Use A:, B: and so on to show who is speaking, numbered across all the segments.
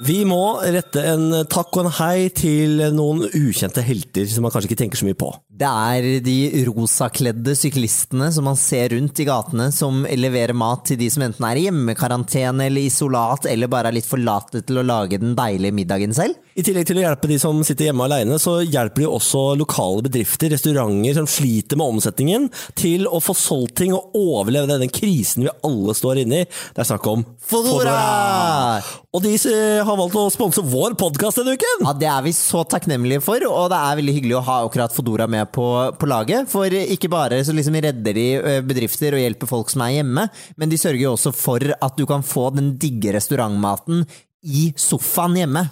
A: Vi må rette en takk og en hei til noen ukjente helter som man kanskje ikke tenker så mye på.
B: Det er de rosakledde syklistene som man ser rundt i gatene, som leverer mat til de som enten er i hjemmekarantene eller isolat, eller bare er litt for late til å lage den deilige middagen selv.
A: I tillegg til å hjelpe de som sitter hjemme alene, så hjelper de jo også lokale bedrifter, restauranter som sliter med omsetningen, til å få solgt ting og overleve denne krisen vi alle står inne i. Det er snakk om
B: Fodora!
A: Og de eh, har valgt å sponse vår podkast denne uken!
B: Ja, Det er vi så takknemlige for, og det er veldig hyggelig å ha akkurat Fodora med på, på laget. For ikke bare så liksom redder de eh, bedrifter og hjelper folk som er hjemme, men de sørger jo også for at du kan få den digge restaurantmaten i sofaen hjemme.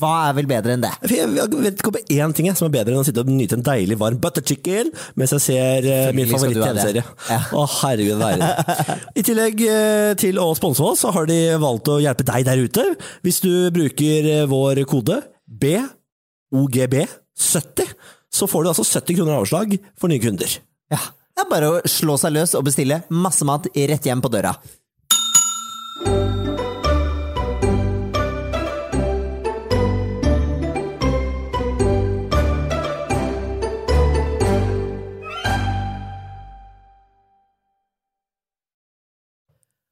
B: Hva er vel bedre enn det?
A: For Jeg jeg vet ikke om det er én ting jeg, som er bedre enn å sitte og nyte en deilig varm butter chicken mens jeg ser eh, min
B: Selvfølgelig skal du ha
A: favoritt-TV-serie.
B: det. Ja.
A: Å, herregud, det er det. I tillegg eh, til å sponse oss, så har de valgt å hjelpe deg der ute. Hvis du bruker eh, vår kode BOGB70, så får du altså 70 kroner avslag for nye kunder.
B: Ja, Det er bare å slå seg løs og bestille masse mat rett hjem på døra.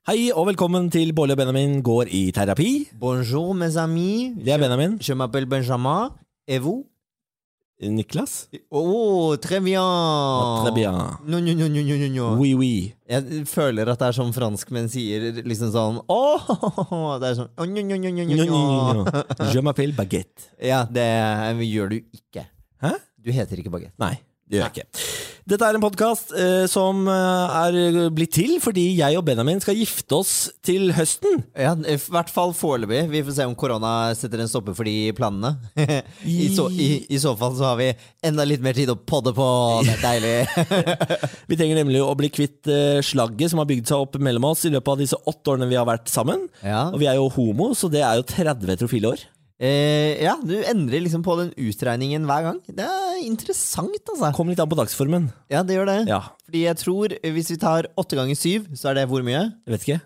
A: Hei og velkommen til Bårli og Benjamin går i terapi.
B: Bonjour, mes amis.
A: Det er Benjamin.
B: Je m'appelle Benjamin. Et vous?
A: Niklas.
B: Oh, très bien.
A: Très bien.
B: No, no, no, no, no, no, no.
A: Oui, oui.
B: Jeg føler at det er sånn franskmenn sier liksom sånn Åh, det er sånn «Å, njo, njo, njo, njo,
A: Njo, njo,
B: njo,
A: njo,
B: njo».
A: njo. Je m'appelle baguette.
B: Ja, det gjør du ikke.
A: Hæ?
B: Du heter ikke Baguette.
A: Nei, det gjør jeg ikke. Dette er en podkast som eh, er blitt til fordi jeg og Benjamin skal gifte oss til høsten.
B: Ja, I hvert fall foreløpig. Vi får se om korona setter en stopper for de planene. I, så, i, I så fall så har vi enda litt mer tid å podde på. Det er deilig.
A: Vi trenger nemlig å bli kvitt eh, slagget som har bygd seg opp mellom oss i løpet av disse åtte årene vi har vært sammen.
B: Ja.
A: Og vi er jo homo, så det er jo 30 heterofile år.
B: Eh, ja, du endrer liksom på den utregningen hver gang. Det er interessant, altså.
A: Kommer litt an på dagsformen.
B: Ja, det gjør det.
A: Ja,
B: Fordi jeg tror eh, hvis vi tar åtte ganger syv, så er det hvor mye?
A: jeg vet ikke.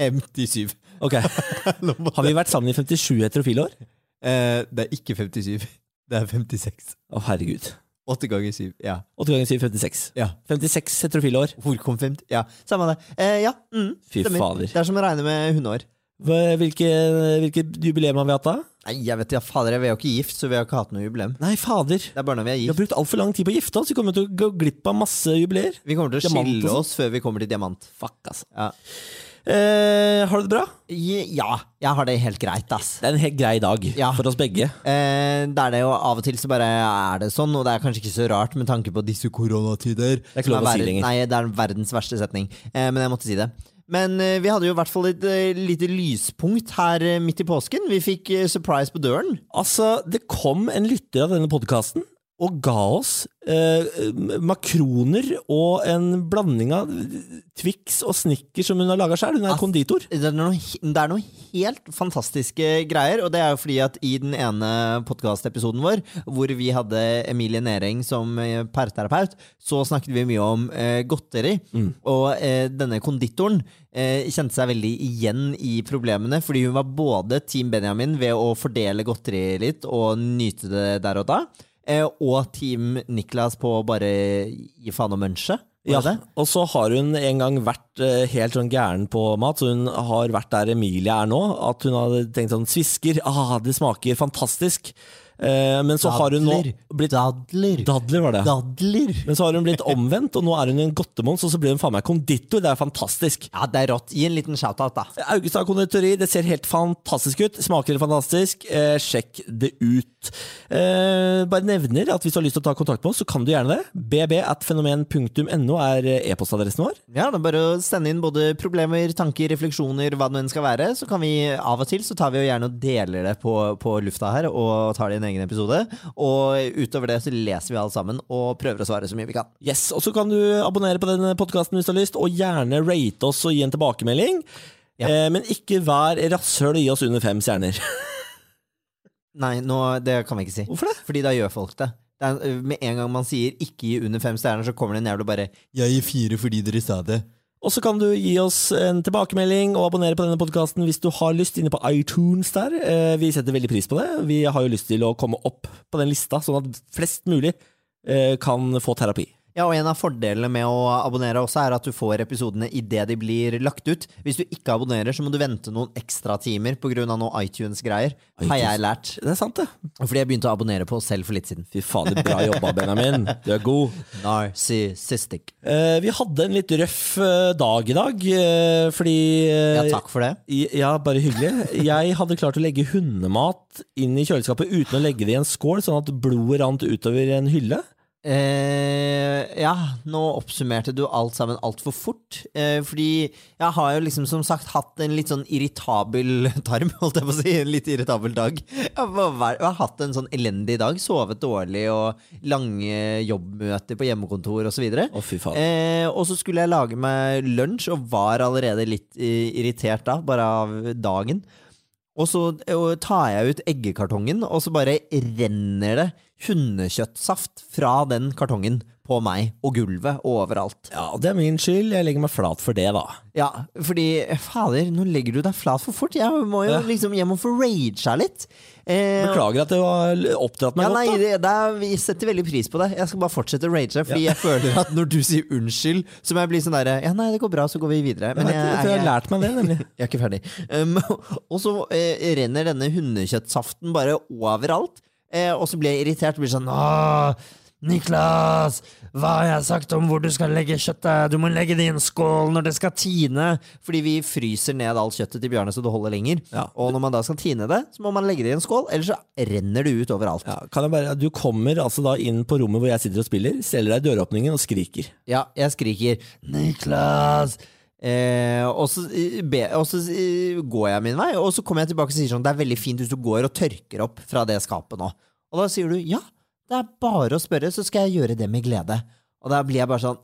B: 57.
A: Ok, Har vi vært sammen i 57 heterofile år?
B: Eh, det er ikke 57. Det er 56.
A: Å, herregud.
B: 8 ganger 7. Ja.
A: 8 ganger 7 56.
B: ja.
A: 56 heterofile år.
B: Hvor kom 50? Ja, samme det. Eh, ja. Mm,
A: Fy
B: stemmer.
A: fader.
B: Det er som å regne med hundeår.
A: Hva- Hvilke, hvilke jubileum har vi hatt da?
B: Nei, jeg vet ja, fader, vi er jo ikke gift, så vi har ikke hatt noe jubileum.
A: Nei, fader.
B: Det er bare når vi er
A: Vi har
B: gift.
A: brukt altfor lang tid på å gifte oss. Vi kommer til å gå glipp av masse jubileer.
B: Vi kommer til å
A: Diamant og
B: skille
A: sånn.
B: oss før vi kommer til diamant.
A: Fuck, altså.
B: Ja,
A: Eh, har du det bra?
B: ja jeg har det helt greit, ass.
A: Det er en helt grei dag
B: Ja.
A: for oss begge.
B: Eh, det er det jo av og til så bare er det sånn, og det er kanskje ikke så rart med tanke på disse koronatider.
A: er ikke lov
B: som
A: å si
B: verden-
A: lenger.
B: Nei, det er verdens verste setning, eh, men jeg måtte si det. Men eh, vi hadde jo i hvert fall et eh, lite lyspunkt her eh, midt i påsken. Vi fikk eh, surprise på døren.
A: Altså, det kom en lytter av denne podkasten og ga oss eh, makroner og en blanding av Twix og Snickers som hun har laga sjøl. Hun er
B: Ass.
A: konditor.
B: Det er, noe, he- det er noe helt fantastiske greier, og det er jo fordi at i den ene podkastepisoden vår, hvor vi hadde Emilie Nering som eh, parterapeut, så snakket vi mye om eh, godteri.
A: Mm.
B: Og eh, denne konditoren eh, kjente seg veldig igjen i problemene, fordi hun var både Team Benjamin ved å fordele godteri litt og nyte det der og da, eh, og Team Niklas på å bare gi faen og munche.
A: Ja,
B: Var det det?
A: og så har hun en gang vært eh, helt sånn gæren på mat, så hun har vært der Emilie er nå. At hun hadde tenkt sånn Svisker, ah, det smaker fantastisk. Eh, men så har hun nå
B: Dadler.
A: blitt
B: dadler.
A: Dadler, var det.
B: Dadler.
A: Men så har hun blitt omvendt, og nå er hun en godtemons, og så blir hun faen meg konditor. Det er fantastisk.
B: Ja, det er rått. Gi en liten shout-out, da.
A: Augestad konditori, det ser helt fantastisk ut. Smaker fantastisk. Eh, sjekk det ut. Eh, bare nevner at hvis du har lyst til å ta kontakt med oss, så kan du gjerne det. bb.fenomen.no er eh, e-postadressen vår.
B: Ja, det er bare å sende inn både problemer, tanker, refleksjoner, hva det nå enn skal være. Så kan vi av og til så tar vi jo gjerne og deler det på, på lufta her, og tar det i en egen episode. Og utover det så leser vi alt sammen, og prøver å svare så mye vi kan.
A: Yes, og så kan du abonnere på denne podkasten hvis du har lyst, og gjerne rate oss og gi en tilbakemelding.
B: Ja.
A: Eh, men ikke vær rasshøl og gi oss under fem stjerner.
B: Nei, nå, det kan vi ikke si.
A: Hvorfor det?
B: Fordi da gjør folk det. det er, med en gang man sier 'ikke gi under fem stjerner', så kommer det en jævel og bare 'Jeg gir fire fordi dere sa det'.
A: Og så kan du gi oss en tilbakemelding og abonnere på denne podkasten hvis du har lyst, inne på iTunes der. Eh, Vi setter veldig pris på det. Vi har jo lyst til å komme opp på den lista, sånn at flest mulig eh, kan få terapi.
B: Ja, og En av fordelene med å abonnere også er at du får episodene idet de blir lagt ut. Hvis du ikke abonnerer, så må du vente noen ekstra timer pga. noe iTunes-greier. Har jeg lært.
A: Det er sant, det.
B: Fordi jeg begynte å abonnere på oss selv for litt siden.
A: Fy fader, bra jobba, Benjamin. Du er god.
B: Narcissistic.
A: Eh, Vi hadde en litt røff eh, dag i dag, eh, fordi eh,
B: Ja, takk for det.
A: I- Ja, bare hyggelig. Jeg hadde klart å legge hundemat inn i kjøleskapet uten å legge det i en skål, sånn at blodet rant utover en hylle.
B: Eh, ja, nå oppsummerte du alt sammen altfor fort. Eh, fordi jeg har jo liksom som sagt hatt en litt sånn irritabel tarm, holdt jeg på å si. En litt irritabel dag. Jeg har, bare vært- jeg har hatt en sånn elendig dag. Sovet dårlig og lange jobbmøter på hjemmekontor osv.
A: Å, fy faen.
B: Eh, og så skulle jeg lage meg lunsj, og var allerede litt eh, irritert da, bare av dagen. Og så eh, tar jeg ut eggekartongen, og så bare renner det hundekjøttsaft fra den kartongen på meg, og gulvet, og overalt.
A: Ja, det er min skyld. Jeg legger meg flat for det, da.
B: Ja, fordi fader, nå legger du deg flat for fort. Jeg må jo liksom, jeg må få ragea litt. Eh,
A: Beklager at det var oppdratt meg
B: ja, nei,
A: godt. da.
B: det, det er, Vi setter veldig pris på det. Jeg skal bare fortsette å rage. Fordi jeg føler at når du sier unnskyld, så må jeg bli sånn derre Ja, nei, det går bra, så går vi videre.
A: Jeg,
B: Men
A: vet,
B: jeg,
A: ikke, jeg, tror jeg har
B: jeg,
A: lært meg det, nemlig.
B: jeg er ikke ferdig. Um, og så eh, renner denne hundekjøttsaften bare overalt. Eh, og så blir jeg irritert. Blir sånn Åh, Niklas, hva har jeg sagt om hvor du skal legge kjøttet? Du må legge det i en skål når det skal tine! Fordi vi fryser ned alt kjøttet til Bjarne så det holder lenger.
A: Ja.
B: Og når man da skal tine det, så må man legge det i en skål, ellers så renner det ut overalt.
A: Ja, kan jeg bare, du kommer altså da inn på rommet hvor jeg sitter og spiller, steller deg i døråpningen og skriker.
B: Ja, jeg skriker 'Niklas!' Eh, og så, eh, be, og så eh, går jeg min vei, og så kommer jeg tilbake og sier sånn 'Det er veldig fint hvis du går og tørker opp fra det skapet nå'. Og da sier du 'Ja, det er bare å spørre, så skal jeg gjøre det med glede'. Og da blir jeg bare sånn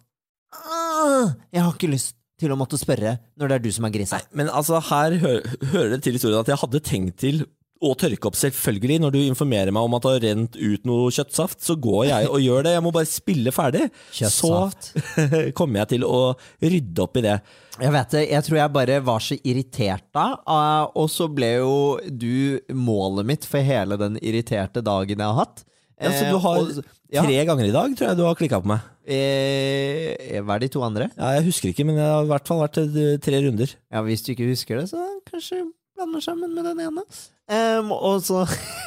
B: «Ah, Jeg har ikke lyst til å måtte spørre når det er du som er grisa.
A: Men altså, her hø hører det til historien at jeg hadde tenkt til å tørke opp, selvfølgelig. Når du informerer meg om at det har rent ut noe kjøttsaft, så går jeg og gjør det. Jeg må bare spille ferdig.
B: Kjøttsaft.
A: Så kommer jeg til å rydde opp i det.
B: Jeg vet det, jeg tror jeg bare var så irritert da, eh, og så ble jo du målet mitt for hele den irriterte dagen jeg har hatt.
A: Ja, så
B: Eh,
A: du har
B: og- ja.
A: tre ganger i dag, tror jeg du har klikka på meg.
B: Eh, hva er de to andre?
A: Ja, jeg husker ikke, men det har i hvert fall vært eh, tre runder.
B: Ja, Hvis du ikke husker det, så kanskje blander sammen med den ene. Em, og så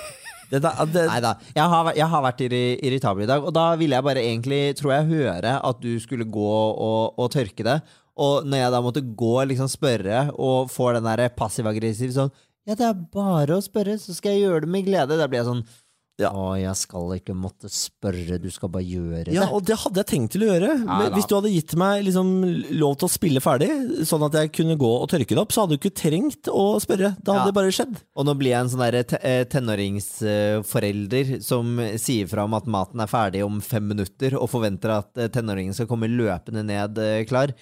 A: Det, der- det,
B: Nei da. Jeg, har væ- jeg har vært irri- irritabel i dag, og da ville jeg bare egentlig, tror jeg, høre at du skulle gå og, og tørke det. Og når jeg da måtte gå og liksom spørre, og får den der passiv-aggressiv sånn Ja, det er bare å spørre, så skal jeg gjøre det med glede. Da blir jeg sånn
A: Ja.
B: Å, jeg skal ikke måtte spørre, du skal bare gjøre det.
A: ja, og det hadde jeg tenkt til å gjøre. Men
B: da.
A: hvis du hadde gitt meg liksom, lov til å spille ferdig, sånn at jeg kunne gå og tørke det opp, så hadde du ikke trengt å spørre. Da
B: Ja.
A: hadde det bare skjedd.
B: Og nå blir jeg en sånn der te- eh, tenåringsforelder som sier fra om at maten er ferdig om fem minutter, og forventer at eh, tenåringen skal komme løpende ned eh, klar.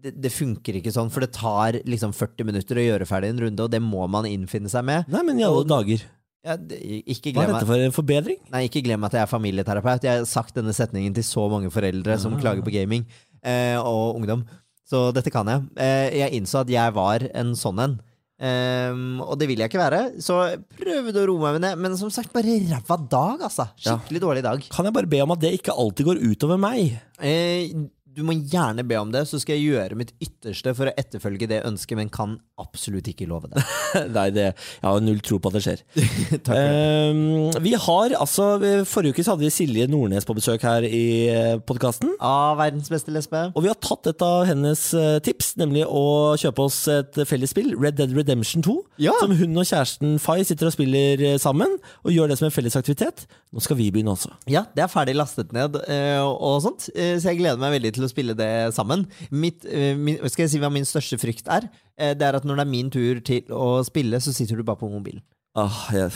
B: Det, det funker ikke sånn, for det tar liksom 40 minutter å gjøre ferdig en runde, og det må man innfinne seg med.
A: Nei, men i alle dager.
B: Ja, det, ikke
A: Hva er
B: glem at-
A: dette for en forbedring?
B: Nei, ikke glem at jeg er familieterapeut. Jeg har sagt denne setningen til så mange foreldre som klager på gaming eh, og ungdom. Så dette kan jeg. Eh, jeg innså at jeg var en sånn en. Ehm, og det vil jeg ikke være, så jeg prøvde å roe meg med det. Men som sagt, bare ræva dag, altså. Skikkelig dårlig dag.
A: Kan jeg bare be om at det ikke alltid går utover meg?
B: Eh, du må gjerne be om det, så skal jeg gjøre mitt ytterste for å etterfølge det ønsket, men kan absolutt ikke love det.
A: Nei, det, jeg har null tro på at det skjer.
B: Takk for det.
A: Ehm, vi har altså Forrige uke så hadde vi Silje Nordnes på besøk her i podkasten.
B: Ah, verdens beste lesbe.
A: Og vi har tatt et av hennes eh, tips, nemlig å kjøpe oss et felles spill, Red Dead Redemption 2.
B: Ja.
A: Som hun og kjæresten Fay sitter og spiller eh, sammen, og gjør det som en felles aktivitet. Nå skal vi begynne også.
B: Ja, det er ferdig lastet ned eh, og sånt, eh, så jeg gleder meg veldig til å spille det sammen. Mitt, eh, min, skal jeg si hva min største frykt er? Eh, Det er at når det er min tur til å spille, så sitter du bare på mobilen.
A: Ah, jeg,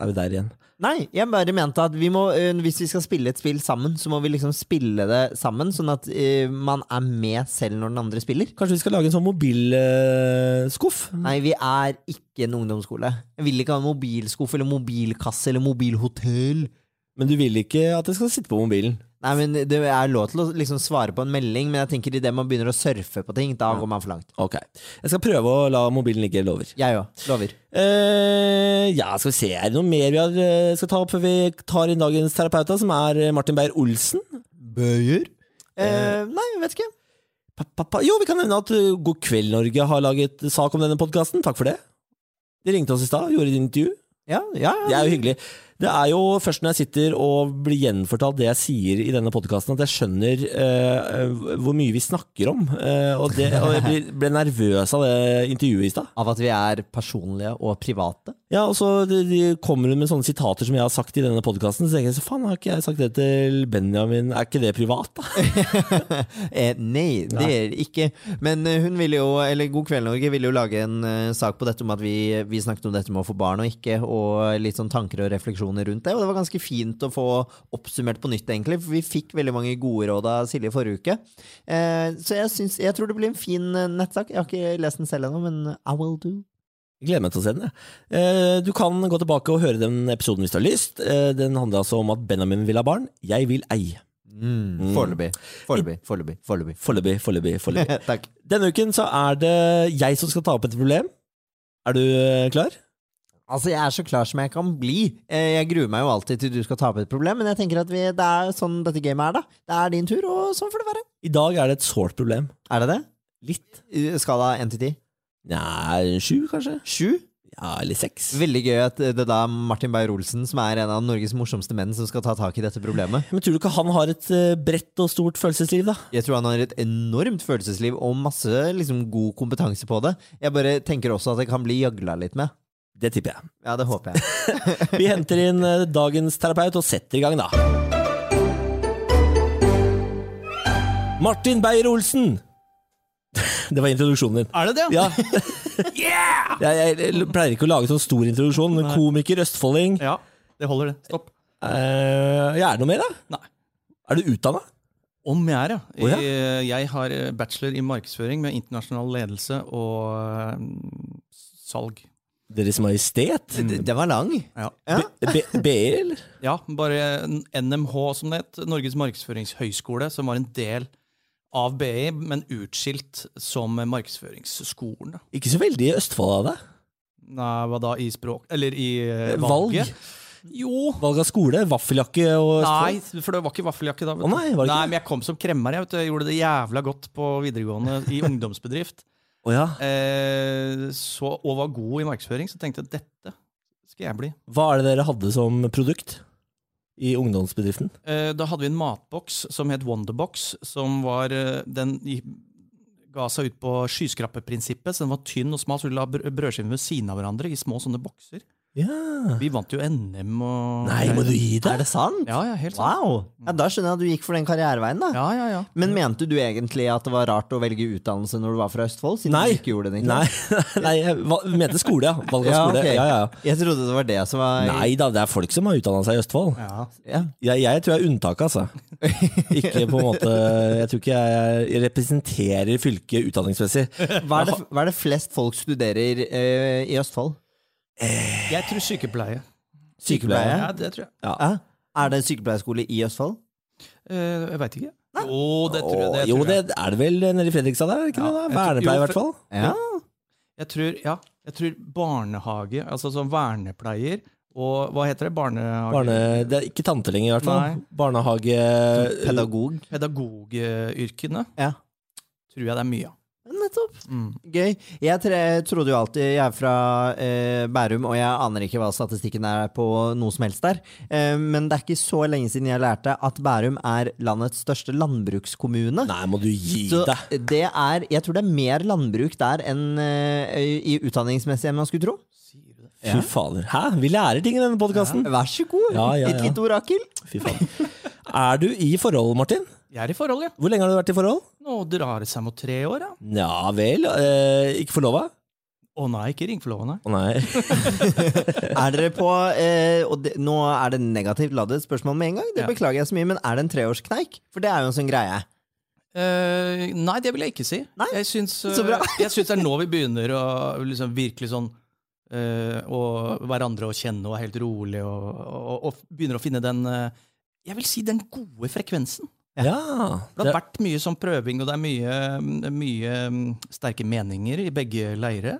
A: er vi der igjen?
B: Nei, jeg bare mente at vi må, eh, hvis vi skal spille et spill sammen, så må vi liksom spille det sammen, sånn at eh, man er med selv når den andre spiller.
A: Kanskje vi skal lage en sånn eh, mobilskuff?
B: Nei, vi er ikke en ungdomsskole. Jeg vil ikke ha en mobilskuff eller mobilkasse eller mobilhotell.
A: Men du vil ikke at det skal sitte på mobilen?
B: Nei, men Det er lov til å liksom svare på en melding, men jeg tenker idet man begynner å surfe på ting, da går man for langt.
A: Ok. Jeg skal prøve å la mobilen ligge, lover.
B: Jeg òg. Lover.
A: Eh, ja, skal vi se. Er det noe mer vi har, eh, skal ta opp før vi tar inn dagens terapeut, da, som er eh, Martin Beyer-Olsen?
B: Bøyer? Eh, nei, vet ikke.
A: Pa, pa, pa. Jo, vi kan nevne at eh, God kveld Norge har laget sak om denne podkasten. Takk for det. De ringte oss i stad, gjorde et intervju.
B: Ja, ja,
A: Det er jo hyggelig. Det er jo først når jeg sitter og blir gjenfortalt det jeg sier i denne podkasten, at jeg skjønner eh, hvor mye vi snakker om. Eh, og, det, og jeg blir, ble nervøs av det intervjuet i stad.
B: Av at vi er personlige og private.
A: Ja, og så de, de kommer hun med sånne sitater som jeg har sagt i denne podkasten. Så tenker jeg så faen, har ikke jeg sagt det til Benjamin? Er ikke det privat, da?
B: Eh, nei, det
A: Nei.
B: er det ikke. Men eh, hun ville jo, eller God kveld Norge ville jo lage en eh, sak på dette om at vi, vi snakket om dette med å få barn og ikke, og litt sånn tanker og refleksjoner rundt det. Og det var ganske fint å få oppsummert på nytt, egentlig, for vi fikk veldig mange gode råd av Silje forrige uke. Eh, så jeg, syns, jeg tror det blir en fin eh, nettsak. Jeg har ikke lest den selv ennå, men I will do.
A: Jeg Gleder meg til å se den. jeg. Eh, du kan gå tilbake og høre den episoden hvis du har lyst. Eh, den handler altså om at Benjamin vil ha barn. Jeg vil ei.
B: Mm. Foreløpig. Foreløpig. Foreløpig. Foreløpig.
A: Foreløpig, foreløpig, foreløpig.
B: Takk.
A: Denne uken så er det jeg som skal ta opp et problem. Er du eh, klar?
B: Altså, Jeg er så klar som jeg kan bli. Eh, Jeg gruer meg jo alltid til du skal tape et problem, men jeg tenker at vi, det er sånn dette gamet er, da. Det er din tur, og sånn får det være.
A: I dag er det et sårt problem.
B: Er det det?
A: Litt.
B: I Skala 1 til 10?
A: Nei, sju, kanskje?
B: 7?
A: Ja, eller seks.
B: Veldig gøy at eh, det er da Martin Beyer-Olsen, som er en av Norges morsomste menn, som skal ta tak i dette problemet.
A: Men tror du ikke han har et eh, bredt og stort følelsesliv, da?
B: Jeg tror han har et enormt følelsesliv og masse liksom, god kompetanse på det. Jeg bare tenker også at jeg kan bli gjøgla litt med.
A: Det tipper jeg.
B: Ja, det håper jeg.
A: Vi henter inn eh, dagens terapeut og setter i gang, da. Martin Beyer-Olsen! Det var introduksjonen din.
B: Er det det?
A: Ja. Jeg, jeg pleier ikke å lage sånn stor introduksjon, men komiker, østfolding
C: Ja, det holder det. Stopp.
A: Eh, ja, Er det noe mer, da?
C: Nei.
A: Er du utdanna?
C: Om jeg er, ja.
A: Å, ja.
C: Jeg, jeg har eh, bachelor i markedsføring med internasjonal ledelse og mm, salg.
A: Deres Majestet?
C: Mm.
B: D- Den var lang.
C: Ja.
B: Ja.
A: B- BI, eller?
C: ja, bare NMH som det het, Norges markedsføringshøgskole, som var en del av BI, men utskilt som markedsføringsskolen. da.
A: Ikke så veldig Østfold av deg.
C: Nei, hva da, i språk Eller i eh,
A: Valg?
C: valget? Jo.
A: Valg av skole, vaffeljakke og
C: Nei,
A: Østfold?
C: for det var ikke vaffeljakke da. vet
A: Å,
C: du.
A: nei, var det ikke
C: nei,
A: det?
C: men jeg kom som kremmer. Jeg, vet du. jeg gjorde det jævla godt på videregående i ungdomsbedrift.
A: Å ja.
C: eh, så, og var god i markedsføring, så tenkte jeg dette skal jeg bli.
A: Hva er det dere hadde som produkt i ungdomsbedriften?
C: Eh, da hadde vi en matboks som het Wonderbox, som var eh, Den i- ga seg ut på skyskrappeprinsippet, så den var tynn og smal, så du la br brødskiver ved siden av hverandre i små sånne bokser.
A: Ja.
C: Vi vant jo NM og
A: Nei, må du gi
B: Er
A: deg?
B: det sant?
C: Ja, ja, helt sant.
B: Wow! Ja, da skjønner jeg at du gikk for den karriereveien, da.
C: Ja, ja, ja.
B: Men mente du egentlig at det var rart å velge utdannelse når du var fra Østfold? Siden
A: Nei.
B: du ikke gjorde det egentlig?
A: Nei, nei, jeg va- mente skole, ja. Valg av
B: Ja,
A: skole.
B: ok.
A: Ja, ja,
B: Jeg trodde det var det som var
A: ja. Nei da, det er folk som har utdanna seg i Østfold.
C: ja.
B: Ja.
A: Jeg, jeg tror jeg er unntaket, altså. Ikke på en måte Jeg tror ikke jeg representerer fylket utdanningsmessig.
B: Hva, er det, hva er det flest folk studerer eh, i Østfold?
C: Jeg tror sykepleie.
A: Sykepleie?
C: Ja, det tror jeg.
B: Ja. Er det sykepleierskole i Østfold?
C: Eh, jeg veit ikke. Jo, det tror jeg. Det
A: Åh, jo,
C: tror jeg.
A: det er det vel nede i Fredrikstad der? er det Ikke
C: Ja,
A: det, da?
C: jeg tror-
A: Vernepleie, i
C: jo,
A: hvert fall.
B: Ja.
C: Jeg tror, ja, jeg tror barnehage, altså som vernepleier og hva heter det? Barnehage?
A: Barne, det er ikke tante lenger, i hvert fall.
C: Nei.
A: Barnehage
B: Pedagog?
C: Pedagogyrkene
B: Ja.
C: tror jeg det er mye av.
B: Nettopp.
C: Mm.
B: Gøy. Jeg tre, trodde jo alltid Jeg er fra eh, Bærum, og jeg aner ikke hva statistikken er på noe som helst der. Eh, men det er ikke så lenge siden jeg lærte at Bærum er landets største landbrukskommune.
A: Nei, må du gi
B: Så
A: deg!
B: det er, jeg tror det er mer landbruk der enn eh, i utdanningsmessig enn man skulle tro.
C: Sier du det?
A: Fy fader. Hæ? Vi lærer ting i denne podkasten!
B: Vær så god,
A: Ja, ja,
B: et
A: ja.
B: lite orakel.
A: Fy fader. Er du i forhold, Martin?
C: Jeg er i forhold, ja.
A: Hvor lenge har du vært i forhold?
C: Nå drar det seg mot tre år, ja.
A: Ja vel. Eh, ikke forlova?
C: Å nei, ikke ring for loven, nei.
A: Å nei.
B: Er dere på eh, Og det, nå er det negativt ladet spørsmål med en gang, det
C: Ja.
B: beklager jeg så mye, men er det en treårskneik? For det er jo en sånn greie.
C: Eh, nei, det vil jeg ikke si.
B: Nei?
C: Jeg syns, eh,
B: Så bra.
C: jeg syns det er nå vi begynner å liksom virkelig sånn eh, å hverandre å kjenne og er helt rolig og, og, og begynner å finne den eh, jeg vil si den gode frekvensen.
A: Ja.
C: Det har vært mye sånn prøving, og det er mye, mye mm, sterke meninger i begge leire.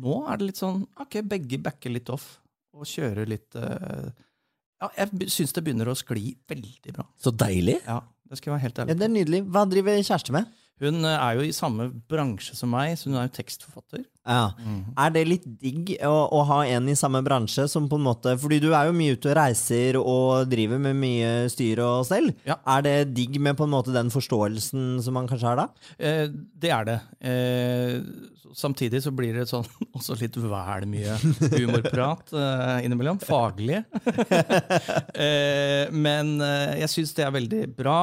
C: Nå er det litt sånn ok, begge backer litt off og kjører litt eh, Ja, jeg syns det begynner å skli veldig bra.
A: Så deilig.
C: Ja, det skal jeg være helt
B: Ja,
C: ærlig.
B: det er nydelig. Hva driver kjæreste med?
C: Hun eh, er jo i samme bransje som meg, så hun er jo tekstforfatter.
B: Ja. Er det litt digg å, å ha en i samme bransje som på en måte Fordi du er jo mye ute og reiser og driver med mye styr og stell.
C: Ja.
B: Er det digg med på en måte den forståelsen som man kanskje har da?
C: Eh, det er det. Eh, samtidig så blir det sånn også litt vel mye humorprat eh, innimellom. Faglig. eh, men eh, jeg syns det er veldig bra.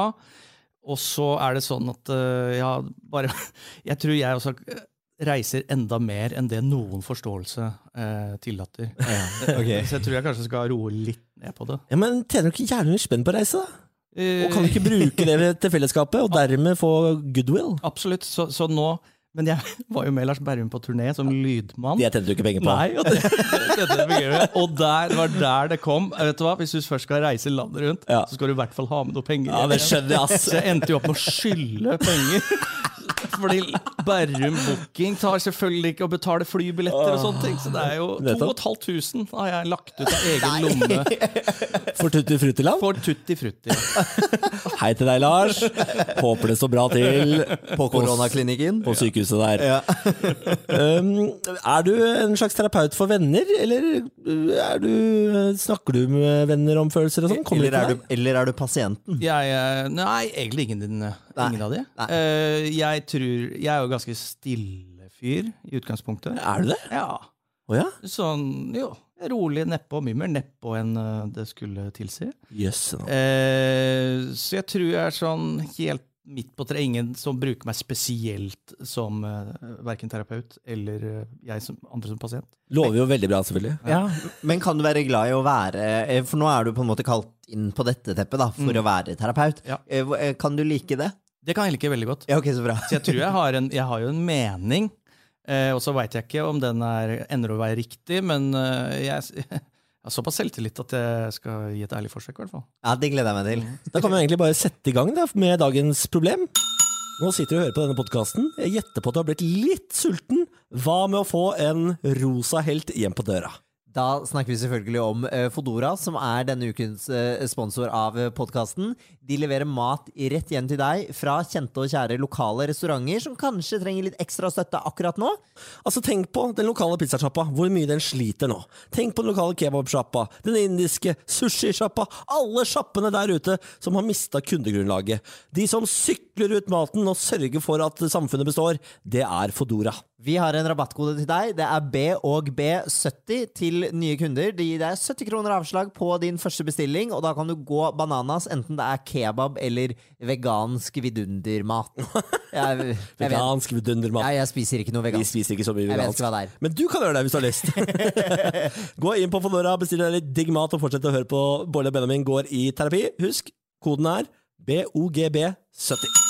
C: Og så er det sånn at eh, ja, bare Jeg tror jeg også reiser enda mer enn det noen forståelse eh, tillater.
B: ok.
C: Så jeg tror jeg kanskje skal roe litt ned på det.
A: Ja, Men tjener du ikke gjerne litt spenn på å reise, da?
C: Eh,
A: Og kan du ikke bruke det til fellesskapet, og dermed få goodwill?
C: Absolutt. Så, så nå Men jeg var jo med Lars Berrum på turné som lydmann.
A: Det tjente du ikke penger på.
C: Nei, og det, det, det fungerer. Og der det var der det kom. Eh, Vet du hva? Hvis du først skal reise landet rundt,
A: Ja.
C: så skal du i hvert fall ha med noe penger.
A: Ja, det skjønner jeg, ass.
C: Så jeg endte jo opp med å skylde penger. Fordi Berrum Booking tar selvfølgelig ikke å betale flybilletter og sånne ting. Så det er jo
A: Nettopp.
C: 2500 har jeg lagt ut av egen lomme
A: For Tutti Fruttiland.
C: for tutti frutti.
A: Hei til deg, Lars. Håper det står bra til på,
B: Koronaklinikken?
A: på sykehuset der.
B: Ja.
A: Um, er du en slags terapeut for venner, eller uh, er du, uh, snakker du med venner om følelser og sånn? Kommer
B: Eller
A: det
B: er,
A: til deg?
B: du, eller er du pasienten?
C: Jeg, eh, nei, egentlig ingen, din- ingen av de. Eh, jeg tror Jeg er jo ganske stille fyr i utgangspunktet.
A: Er du det?
C: Ja.
A: Å ja?
C: Sånn, jo. Rolig nedpå. Mye mer nedpå enn eh, det skulle tilsi.
A: Jøss. nå.
C: Eh, så jeg tror jeg er sånn helt midt på treet. Ingen som bruker meg spesielt som uh, verken terapeut eller eh, jeg som andre som pasient.
A: Lover jo veldig bra, selvfølgelig.
B: Men kan du være glad i å være eh, For nå er du på en måte kalt inn på dette teppet da, for å være terapeut.
C: Mm. Ja.
B: Eh, hva- eh, Kan du like det?
C: Det kan jeg like veldig godt.
B: Ja, ok, så bra.
C: Så jeg tror jeg har, en, jeg har jo en mening, eh, og så veit jeg ikke om den er, ender å være riktig, men eh, jeg, jeg har såpass selvtillit at jeg skal gi et ærlig forsøk, i hvert fall.
B: Ja, Det gleder jeg meg
C: Mm.
B: til.
A: Da kan vi egentlig bare sette i gang da, med dagens problem. Nå sitter du og hører på denne podkasten. Jeg gjetter på at du har blitt litt sulten. Hva med å få en rosa helt hjem på døra?
B: Da snakker vi selvfølgelig om eh, Fodora, som er denne ukens eh, sponsor av podkasten. De leverer mat rett hjem til deg fra kjente og kjære lokale restauranter som kanskje trenger litt ekstra støtte akkurat nå.
A: Altså Tenk på den lokale pizzasjappa, hvor mye den sliter nå. Tenk på den lokale kebabsjappa, den indiske sushisjappa, alle sjappene der ute som har mista kundegrunnlaget. De som sykler ut maten og sørger for at samfunnet består, det er Fodora.
B: Vi har en rabattkode til deg. Det er B og B70 til nye kunder. Det gir deg 70 kroner avslag på din første bestilling, og da kan du gå bananas enten det er kebab eller vegansk vidundermat. Jeg, jeg, vet,
A: Vegansk vidundermat.
B: ja, jeg spiser ikke noe
A: Vi
B: vegansk.
A: spiser ikke så mye
B: Jeg vet
A: vegansk.
B: ikke hva det er.
A: Men du kan gjøre det hvis du har lyst. Gå inn på Fodora, bestill deg litt digg mat og fortsett å høre på Bård og Benjamin går i terapi. Husk, koden er BOGB70.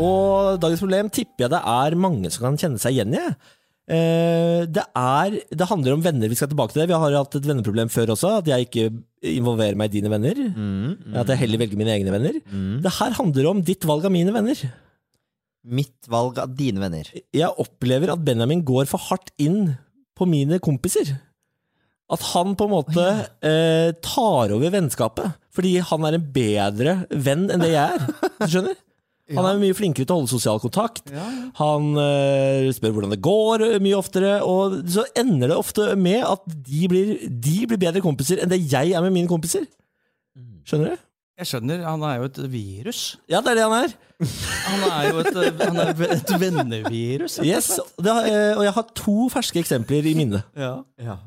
A: Og dagens problem tipper jeg det er mange som kan kjenne seg igjen i. Eh, Det, er, det handler om venner. Vi skal tilbake til det. Vi har hatt et venneproblem før også. At jeg ikke involverer meg i dine venner.
B: Mm.
A: At jeg heller velger mine egne venner. Det her handler om ditt valg av mine venner.
B: Mitt valg av dine venner.
A: Jeg opplever at Benjamin går for hardt inn på mine kompiser. At han på en måte eh, tar over vennskapet. Fordi han er en bedre venn enn det jeg er. Du skjønner? Han er mye flinkere til å holde sosial kontakt. Han eh, spør hvordan det går eh, mye oftere. Og så ender det ofte med at de blir, de blir bedre kompiser enn det jeg er med mine kompiser. Skjønner du?
C: Jeg skjønner, han er jo et virus.
A: Ja, det er det han er.
C: Han er jo et, eh, han er et vennevirus.
A: Yes, det, har- eh, og jeg har to ferske eksempler i minne.
C: Ja.
B: Ja.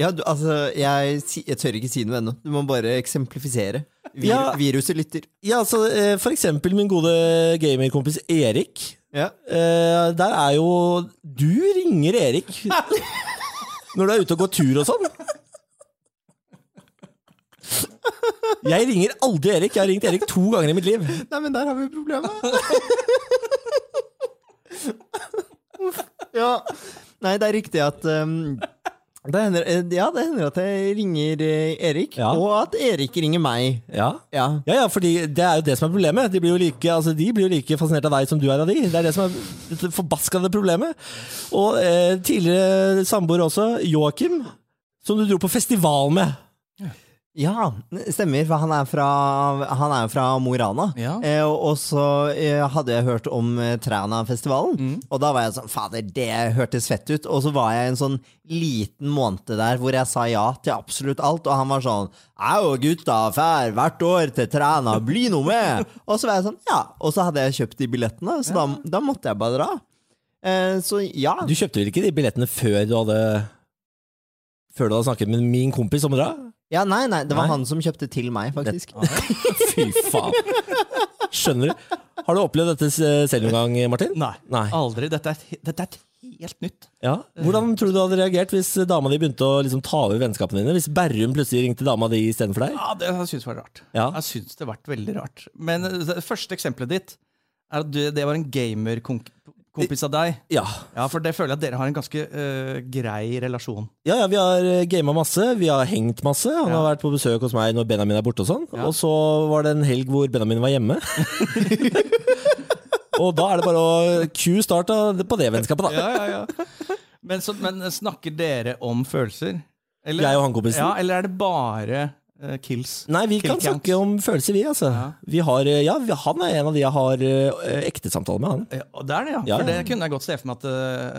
B: Ja, du, altså, jeg, si- jeg tør ikke si noe ennå. Du må bare eksemplifisere. Vir
A: Ja.
B: Viruset lytter.
A: Ja, altså, eh, for eksempel min gode gamerkompis Erik.
B: Ja.
A: Eh, Der er jo Du ringer Erik når du er ute og går tur og sånn. Jeg ringer aldri Erik. Jeg har ringt Erik to ganger i mitt liv.
B: Nei, men der har vi problemet. ja. Nei, det er riktig at um, Det hender, eh, ja, det hender at jeg ringer eh, Erik,
A: Ja.
B: og at Erik ringer meg.
A: Ja.
B: Ja.
A: Ja, ja, fordi det er jo det som er problemet. De blir jo like, altså, de blir jo like fascinert av deg som du er av de. Det er det som er det forbaskede problemet. Og eh, tidligere samboer også, Joakim, som du dro på festival med.
B: ja, stemmer, for han er fra, han er jo fra Mo i Rana.
C: Ja.
B: Eh, og og så eh, hadde jeg hørt om eh, Træna-festivalen,
A: Mm.
B: og da var jeg sånn Fader, det hørtes fett ut. Og så var jeg en sånn liten måned der hvor jeg sa ja til absolutt alt, og han var sånn Au, gutta, fær hvert år til Træna, bli noe med! og så var jeg sånn, ja. Og så hadde jeg kjøpt de billettene, så da, da måtte jeg bare dra. Eh, så ja.
A: Du kjøpte vel ikke de billettene før du hadde Før du hadde snakket med min kompis om å dra?
B: Ja, nei, nei, det var
A: Nei.
B: han som kjøpte til meg, faktisk.
A: Fy faen. Skjønner du? Har du opplevd dette eh, selv noen gang, Martin?
C: Nei.
A: Nei.
C: Aldri. Dette er, et he- dette er et helt nytt.
A: Ja. Hvordan tror du du hadde reagert hvis dama di begynte å liksom, ta over vennskapene dine? Hvis Berrum plutselig ringte dama di istedenfor deg?
C: Ja, det jeg synes var rart.
A: Ja.
C: Jeg synes det har vært veldig rart. Men eh, det første eksempelet ditt er at du, det var en gamerkompis av deg.
A: Ja.
C: Ja, for det føler jeg at dere har en ganske eh, grei relasjon.
A: Ja, ja, vi har gama masse, vi har hengt masse. Han har vært på besøk hos meg når Benjamin er borte og sånn. Og så var det en helg hvor Benjamin var hjemme. og da er det bare å cue start av- på det vennskapet, da.
C: Ja, ja, ja. Men, så, men snakker dere om følelser? Eller,
A: Jeg og han kompisen.
C: ja, eller er det bare eh, kills?
A: Nei, vi
C: Kill
A: kan
C: count.
A: snakke om følelser, vi, altså. Vi har, eh, ja, vi- han er en av de jeg har eh, ekte samtaler med, han.
C: Ja, og det er det, ja.
A: Ja,
C: For det
A: ja.
C: kunne jeg godt se for meg at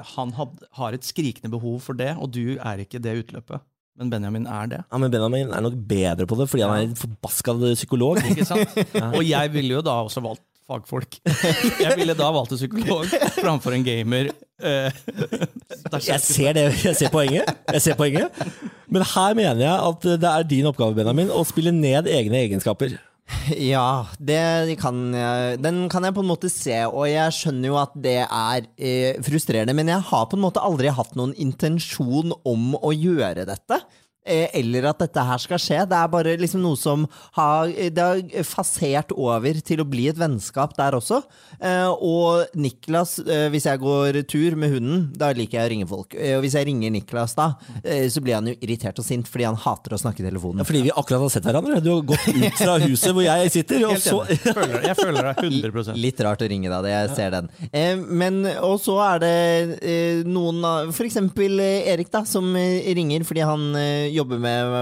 C: eh, han had, har et skrikende behov for det, og du er ikke det utløpet. Men Benjamin er det.
A: Ja, Men Benjamin er nok bedre på det, fordi han er en forbaska psykolog.
C: Ikke sant? Og jeg ville jo da også valgt fagfolk. Jeg ville da valgt en psykolog framfor en gamer. Eh, det er
A: Jeg
C: kjekt.
A: ser det, jeg ser poenget. Jeg ser poenget. Men her mener jeg at det er din oppgave, Benjamin, å spille ned egne egenskaper.
B: Ja, det kan jeg, den kan jeg på en måte se, og jeg skjønner jo at det er eh, frustrerende, men jeg har på en måte aldri hatt noen intensjon om å gjøre dette. eh, Eller at dette her skal skje. Det er bare liksom noe som har, det har fasert over til å bli et vennskap der også. Eh, Og Niklas, eh, hvis jeg går tur med hunden, da liker jeg å ringe folk. Eh, Og hvis jeg ringer Niklas da, eh, så blir han jo irritert og sint fordi han hater å snakke i telefonen.
A: Fordi vi akkurat har sett hverandre. Du har gått ut fra huset hvor jeg sitter, og
C: Helt
A: så
C: enig. Jeg føler- Jeg føler deg 100
B: Litt rart å ringe deg, det, jeg ser den. Eh, men, og så er det eh, noen av For eksempel eh, Erik, da, som eh, ringer fordi han eh, jobber med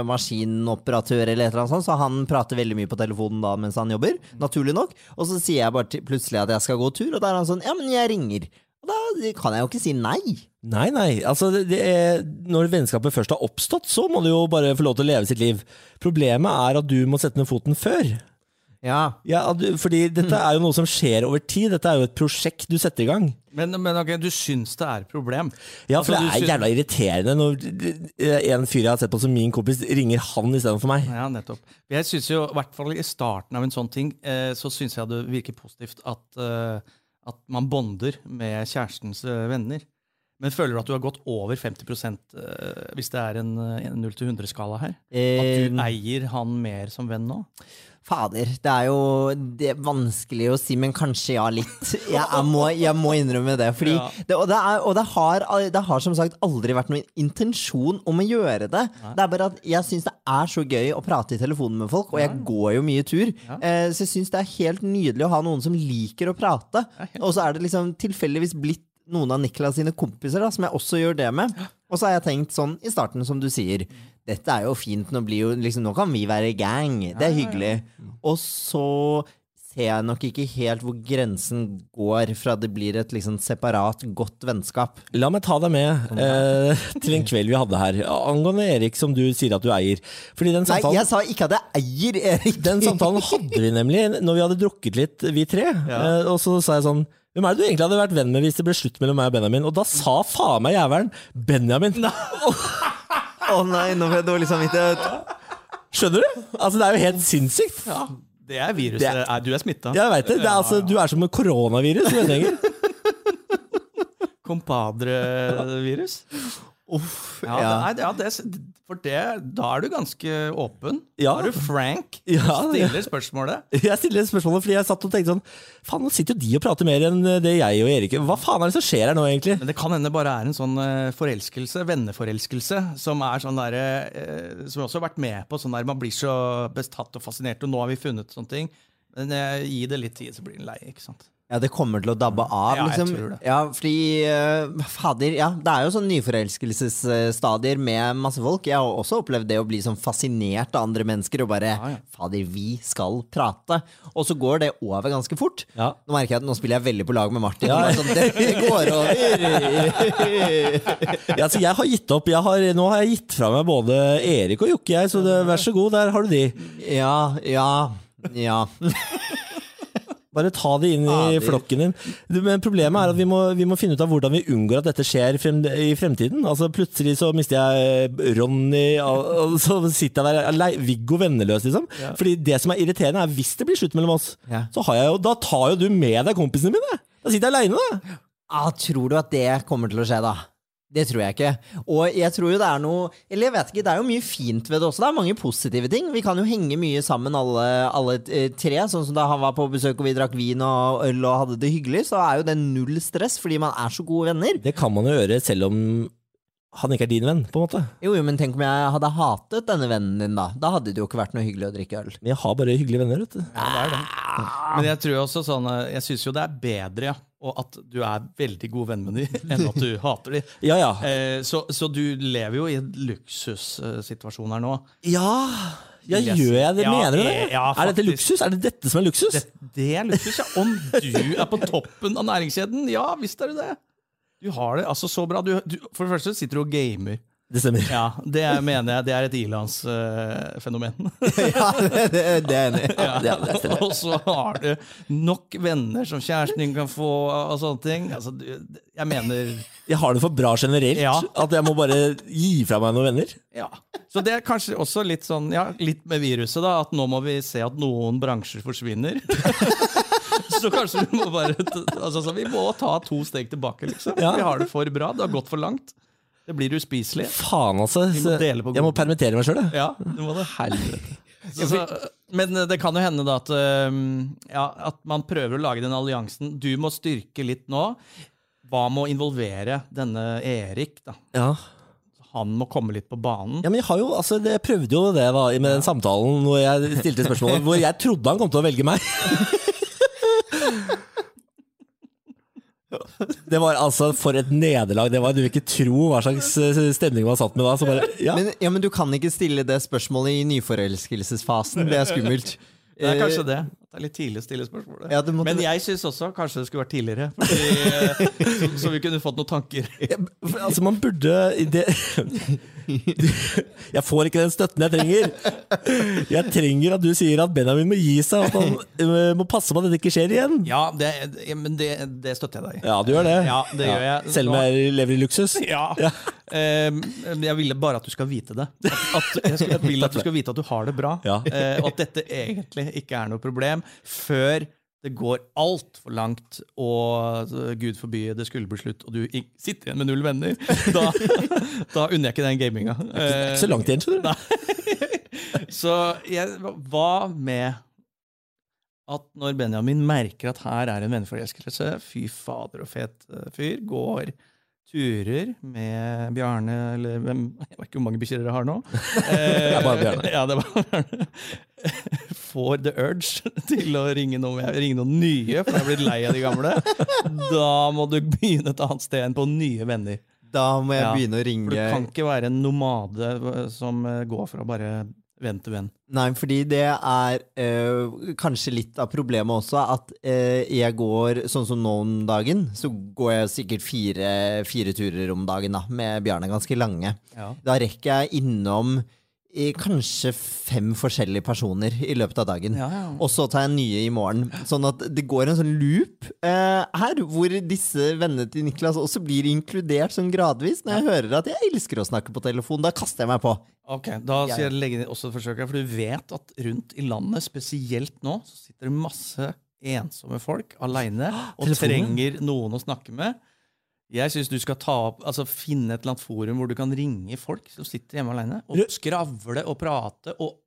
B: maskinoperatør eller et eller annet sånt, så han prater veldig mye på telefonen da mens han jobber, naturlig nok. Og så sier jeg bare til, plutselig at jeg skal gå tur, og da er han sånn Ja, men jeg ringer. Og da kan jeg jo ikke si nei.
A: Nei, nei. Altså, det det er, når vennskapet først har oppstått, så må det jo bare få lov til å leve sitt liv. Problemet er at du må sette ned foten før.
B: Ja.
A: Ja, at du- fordi dette er jo noe som skjer over tid. Dette er jo et prosjekt du setter i gang.
C: Men, men ok, du syns det er et problem?
A: Ja, for
C: Altså,
A: det
C: du
A: er
C: syns-
A: jævla irriterende når eh, en fyr jeg har sett på som min kompis, ringer han istedenfor meg.
C: Ja, nettopp. Jeg synes jo, i hvert fall i starten av en sånn ting, eh, så syns jeg det virker positivt at, eh, at man bonder med kjærestens eh, venner. Men føler du at du har gått over 50 eh, hvis det er en, eh, en 0-100-skala her? At du
B: Eh,
C: eier han mer som venn nå?
B: Fader, det er jo det er vanskelig å si, men kanskje ja, litt. Jeg, er må, jeg må innrømme det. Fordi
C: Ja.
B: det, og det, er, og det, har, det har som sagt aldri vært noen intensjon om å gjøre det. Det er bare at jeg syns det er så gøy å prate i telefonen med folk, og jeg går jo mye tur. Eh, så jeg syns det er helt nydelig å ha noen som liker å prate. Og så er det liksom tilfeldigvis blitt noen av Niklas sine kompiser, da, som jeg også gjør det med. Og så har jeg tenkt sånn i starten, som du sier, dette er jo fint, nå, blir jo, liksom, nå kan vi være i gang, det er hyggelig. Og så ser jeg nok ikke helt hvor grensen går fra det blir et liksom separat, godt vennskap.
A: La meg ta deg med eh, til en kveld vi hadde her, angående Erik, som du sier at du eier. Fordi den
B: Nei,
A: samtalen
B: jeg sa ikke at jeg eier Erik!
A: Den samtalen hadde vi nemlig når vi hadde drukket litt, vi tre. Eh, Og så sa jeg sånn Hvem er det du egentlig hadde vært venn med hvis det ble slutt mellom meg og Benjamin? Og da sa faen meg jævelen Benjamin!
B: Å nei, nå får jeg dårlig samvittighet.
A: Skjønner du? Altså Det er jo helt sinnssykt.
C: Ja, det er viruset.
A: Det-
C: Nei, du er smitta.
A: Jeg vet det. det er, altså, du er som en koronavirus. du vet ikke.
C: Compadre-virus.
B: Uff,
C: Ja,
B: ja.
C: det er- ja, det, for det, da er du ganske åpen.
A: Ja.
C: Da er du frank
A: Ja,
C: og stiller spørsmålet.
A: Jeg stiller spørsmålet fordi jeg satt og tenkte sånn Faen, nå sitter jo de og prater mer enn eh, det jeg og Erik Hva faen er det som skjer her nå, egentlig?
C: Men det kan hende bare er en sånn eh, forelskelse, venneforelskelse, som er sånn der, eh, som jeg også har vært med på. sånn der, Man blir så bestatt og fascinert, og nå har vi funnet sånne ting. Men eh, gi det litt tid, så blir den lei. ikke sant?
B: Ja, det kommer til å dabbe av,
C: Ja, jeg
B: liksom.
C: tror det.
B: Ja, fordi eh, Fader, ja. Det er jo sånn nyforelskelsesstadier med masse folk. Jeg har også opplevd det å bli sånn fascinert av andre mennesker og bare
C: Ja, ja.
B: Fader, vi skal prate. Og så går det over ganske fort.
A: Ja.
B: Nå merker jeg at nå spiller jeg veldig på lag med Martin.
A: Ja.
B: men Sånn, det, det går over.
A: Ja, altså, jeg har gitt opp. Jeg har, nå har jeg gitt fra meg både Erik og Jokke, jeg, så det, vær så god, der har du de.
B: ja, ja, ja.
A: Bare ta det inn i
B: Fader.
A: flokken din. Du, men problemet er at vi må, vi må finne ut av hvordan vi unngår at dette skjer frem, i fremtiden. Altså Plutselig så mister jeg eh, Ronny, og, og så sitter jeg der alei- Viggo venneløs, liksom. Fordi det som er irriterende, er hvis det blir slutt mellom oss,
B: Ja.
A: så har jeg jo, da tar jo du med deg kompisene mine! Da sitter jeg aleine, da!
B: Ah, tror du at det kommer til å skje, da? Det tror jeg ikke. Og jeg tror jo det er noe Eller jeg vet ikke, det er jo mye fint ved det også. Det er mange positive ting. Vi kan jo henge mye sammen, alle, alle eh, tre. Sånn som da han var på besøk og vi drakk vin og øl og hadde det hyggelig, så er jo det null stress fordi man er så gode venner.
A: Det kan man jo gjøre selv om han ikke er din venn, på en måte.
B: Jo, jo, men tenk om jeg hadde hatet denne vennen din, da. Da hadde det jo ikke vært noe hyggelig å drikke øl.
A: Men jeg har bare hyggelige venner, vet du.
C: Ja, det er det. Men jeg tror også sånn, eh, jeg syns jo det er bedre ja, og at du er veldig god venn med dem, enn at du hater dem.
A: Ja ja.
C: Så, så du lever jo i en luksussituasjon her nå.
A: Ja, ja
C: Vil jeg
A: gjør
C: si.
A: jeg det?
C: Ja,
A: Mener du det?
C: eh, ja,
A: er dette
C: faktisk.
A: luksus? Er det dette som er luksus?
C: Det, det er luksus, ja. Om du er på toppen av næringskjeden, ja visst er du det. Du har det altså så bra. Du, du, for det første sitter du og gamer.
A: Det stemmer.
C: Ja, Det mener jeg det er et ilandsfenomen.
B: ja, det, det, det er enig.
C: ja. og så har du nok venner som kjæresten din kan få, og sånne ting. Altså, du, jeg mener
A: Jeg har det for bra generelt.
C: Ja.
A: At jeg må bare gi fra meg noen venner.
C: Ja. Så det er kanskje også litt sånn, ja, litt med viruset, da, at nå må vi se at noen bransjer forsvinner. Så kanskje vi må bare t- altså, så Vi må ta to steg tilbake, liksom.
A: Ja.
C: Vi har det for bra. Det har gått for langt. Det blir uspiselig.
A: Faen, altså.
C: Vi
A: så
C: må dele på
A: jeg må
C: godet.
A: permittere meg sjøl, jeg.
C: Ja, du må det. Helvete. Så, så, men eh, det kan jo hende da at, øhm, ja, at man prøver å lage den alliansen. Du må styrke litt nå. Hva med å involvere denne Erik? da?
A: Ja.
C: Han må komme litt på banen.
A: ja, men jeg har jo altså, det, Jeg prøvde jo det da med den samtalen hvor jeg stilte spørsmålet hvor jeg trodde han kom til å velge meg. Det var altså For et nederlag det var. Du vil ikke tro hva slags eh, stemning man satt med da. Så bare, ja.
B: Men, ja, men du kan ikke stille det spørsmålet i nyforelskelsesfasen. Det er skummelt.
C: Det er kanskje det. At det er litt tidlig å stille spørsmålet.
B: Ja, det måtte-
C: Men jeg syns også kanskje det skulle vært tidligere. Fordi, eh, så, så vi kunne fått noen tanker.
A: For, altså, man burde i det, Jeg får ikke den støtten jeg trenger. Jeg trenger at du sier at Benjamin må gi seg, at han eh, må passe på at dette ikke skjer igjen.
C: Ja, det, ja, men det, det støtter jeg deg i.
A: Ja, du gjør det.
C: Ja, det gjør jeg.
A: Selv om jeg lever i luksus.
C: Ja. Eh, men jeg ville bare at du skal vite det. At, at jeg, skulle, jeg vil at du skal vite at du har det bra.
A: Ja.
C: Eh, og at dette egentlig ikke er noe problem før det går altfor langt, og eh, gud forby det skulle bli slutt, og du i- sitter igjen med null venner. Da, da unner jeg ikke den gaminga.
A: Det
C: Eh,
A: er ikke så langt igjen, skjønner du.
C: Så jeg, hva med at når Benjamin merker at her er en venneforelskelse, fy fader og fet eh, fyr, går turer med Bjarne eller hvem, Jeg vet ikke hvor mange bikkjer dere har nå. Det
A: er bare Bjarne.
C: Ja, det er bare Bjarne. Får the urge til å ringe noen, ringe noen nye, for jeg er blitt lei av de gamle. Da må du begynne et annet sted enn på nye venner.
B: Da må jeg
C: Ja,
B: begynne å
C: For du
B: ringe
C: kan ikke være en nomade eh, som eh, går fra bare venn til venn.
B: Nei, fordi det er eh, kanskje litt av problemet også, at eh, jeg går, sånn som nå om dagen, så går jeg sikkert fire, fire turer om dagen da, med Bjarne, ganske lange.
C: Ja.
B: Da rekker jeg innom eh, kanskje fem forskjellige personer i løpet av dagen.
C: Ja, ja.
B: Og så tar jeg nye i morgen. Sånn at det går en sånn loop eh, her, hvor disse vennene til Niklas også blir inkludert sånn gradvis. Når jeg hører at jeg elsker å snakke på telefon, da kaster jeg meg på.
C: Ok, Da
B: Jeg-
C: skal jeg legge ned også et forsøk her, for du vet at rundt i landet, spesielt nå, så sitter det masse ensomme folk aleine og
A: Telefonen?
C: trenger noen å snakke med. Jeg syns du skal ta opp, altså finne et eller annet forum hvor du kan ringe folk som sitter hjemme alene, og
A: Ru-
C: skravle og prate og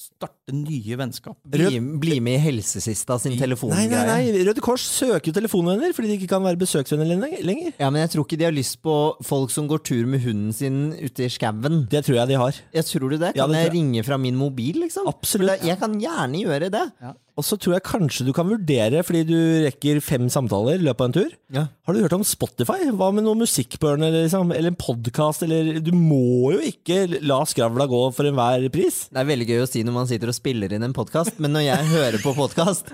C: starte nye vennskap.
B: Bli, bli med i Helsesista sin
A: Nei, nei,
B: telefongreie.
A: nei, Røde Kors søker jo telefonvenner fordi de ikke kan være besøksvenner len- lenger.
B: Ja, men jeg tror ikke de har lyst på folk som går tur med hunden sin ute i skauen.
A: Det tror jeg de har.
B: Jeg tror du det?
A: Ja, det
B: Kan
A: tror
B: jeg
A: jeg.
B: ringe fra min mobil, liksom?
A: Absolutt.
B: For det- Jeg kan gjerne gjøre det.
A: Og så tror jeg kanskje du kan vurdere, fordi du rekker fem samtaler i løpet av en tur.
B: Ja.
A: Har du hørt om Spotify? Hva med noe musikk på ørene, eller, liksom, eller en podkast? Du må jo ikke la skravla gå for enhver pris.
B: Det er veldig gøy å si når man sitter og spiller inn en podkast, men når jeg hører på podkast,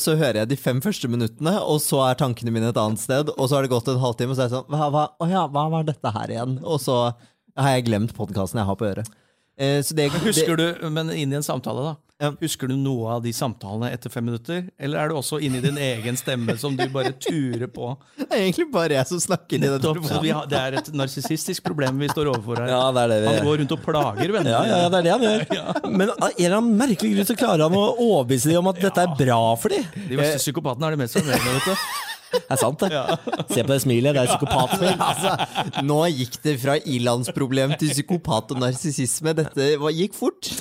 B: så hører jeg de fem første minuttene, og så er tankene mine et annet sted, og så har det gått en halvtime, og så er jeg sånn hva, hva, å ja, hva var dette her igjen? Og så har jeg glemt podkasten jeg har på øret. Eh, Så det, det,
C: Husker du, men inn i en samtale da,
B: Ja.
C: husker du noe av de samtalene etter fem minutter? Eller er du også inne i din egen stemme som du bare turer på?
B: det er egentlig bare jeg som snakker inn i den
C: Nettopp,
B: telefonen.
C: vi har, det er et narsissistisk problem vi står overfor her.
A: det er det
C: Han går rundt og plager venner.
A: Ja, ja, ja, det er det han gjør. Men av en eller annen merkelig grunn så klarer han å overbevise dem om at dette er bra for dem.
C: De verste psykopatene er de mest sjarmerende, vet du.
A: Det er sant, det. Se på det smilet, det er psykopatspill.
B: Altså, nå gikk det fra ilandsproblem til psykopat og narsissisme. Dette var, gikk fort.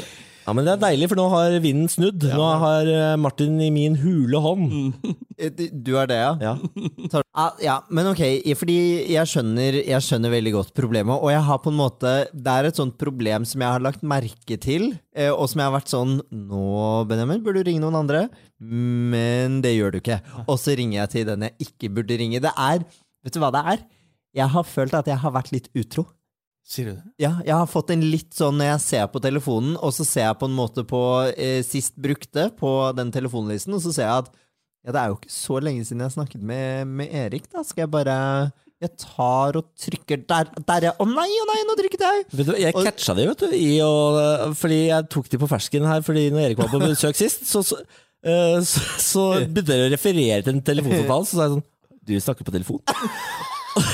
A: Ja, men det er deilig, for nå har vinden snudd. Nå har eh, Martin i min hule hånd.
B: Eh, Du du er det, ja?
A: Ja.
B: Tar- Ah, ja, men ok, i- fordi jeg skjønner, jeg skjønner veldig godt problemet, og jeg har på en måte, det er et sånt problem som jeg har lagt merke til, eh, og som jeg har vært sånn, nå Benjamin, burde du ringe noen andre? Men det gjør du ikke. Og så ringer jeg til den jeg ikke burde ringe. Det er, vet du hva det er? Jeg har følt at jeg har vært litt utro.
C: Sier du det?
B: Ja, jeg har fått en litt sånn når jeg ser på telefonen, og så ser jeg på en måte på eh, sist brukte på den telefonlisten, og så ser jeg at ja, det er jo ikke så lenge siden jeg snakket med, med Erik, da. Skal jeg bare Jeg tar og trykker der, der ja. Å nei, å nei, nå trykket jeg!
A: Vet du, jeg catcha de, vet du. I å, fordi jeg tok de på fersken her Fordi når Erik var på besøk sist, så, så, eh, så, så begynte jeg å referere til en telefonsamtale. Så sa jeg sånn Du snakker på telefon?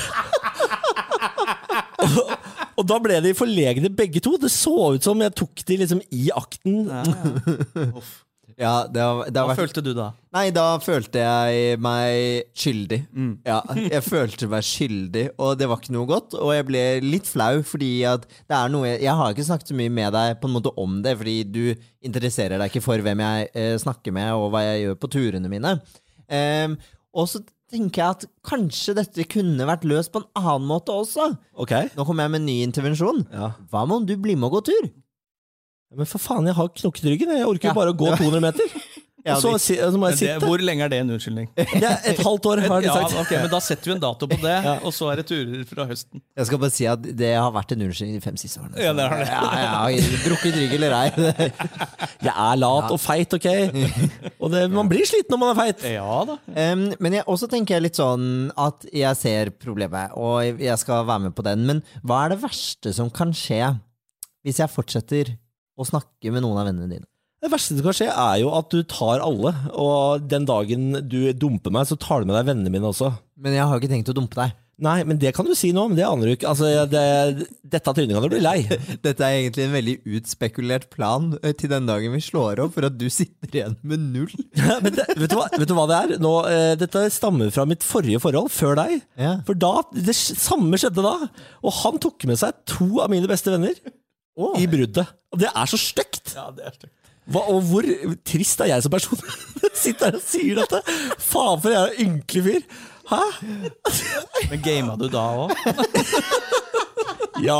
A: Og- Og da ble de forlegne begge to. Det så ut som jeg tok de liksom i akten.
C: Ja, ja. Uff.
B: Ja, det har, det har
C: Hva
B: vært
C: følte du da?
B: Nei, da følte jeg meg skyldig. Ja, jeg følte meg skyldig, og det var ikke noe godt. Og jeg ble litt flau, fordi at det er noe Jeg, jeg har ikke snakket så mye med deg på en måte om det, fordi du interesserer deg ikke for hvem jeg eh, snakker med, og hva jeg gjør på turene mine. Ehm, og så tenker jeg at kanskje dette kunne vært løst på en annen måte også.
A: Ok?
B: Nå kommer jeg med en ny intervensjon.
A: Ja.
B: Hva med om du blir med og går tur?
A: Men for faen, jeg har knokket ryggen. Jeg orker jo
B: Ja.
A: bare å gå 200 meter.
B: Ja,
A: Og så, si- så må
C: Men
A: jeg
C: det,
A: sitte.
C: hvor lenge er det en unnskyldning?
A: Det er et halvt år, har de
C: Ja,
A: sagt.
C: ok, men Da setter vi en dato på det, og så er det turer fra høsten.
B: Jeg skal bare si at det har vært en unnskyldning de fem siste årene.
C: Ja, det har det.
B: Ja, ja, Drukket rygg eller ei.
A: Jeg er lat og feit, ok? Og det, man blir sliten når man er feit.
C: Ja da.
B: Um, men jeg også tenker jeg litt sånn at jeg ser problemet, og jeg skal være med på den. Men hva er det verste som kan skje hvis jeg fortsetter å snakke med noen av vennene dine?
A: Det verste som kan skje, er jo at du tar alle. Og den dagen du dumper meg, så tar du med deg vennene mine også.
B: Men jeg har ikke tenkt å dumpe deg.
A: Nei, men det kan du si nå, men det aner du ikke. Altså, jeg- det, dette trynet kan du bli lei.
B: Dette er egentlig en veldig utspekulert plan eh, til den dagen vi slår opp, for at du sitter igjen med null.
A: Men det, vet, du hva, vet du hva det er? Nå, eh, dette stammer fra mitt forrige forhold, før deg.
B: Ja.
A: For da, det s- samme skjedde da. Og han tok med seg to av mine beste venner i bruddet. Og det er så stygt!
C: Ja, det er stygt.
A: Hva, og hvor trist er jeg som person? Sitter her og sier dette. Faen, for jeg er en ynkelig fyr. Hæ?
C: Men gama du da òg?
A: Ja.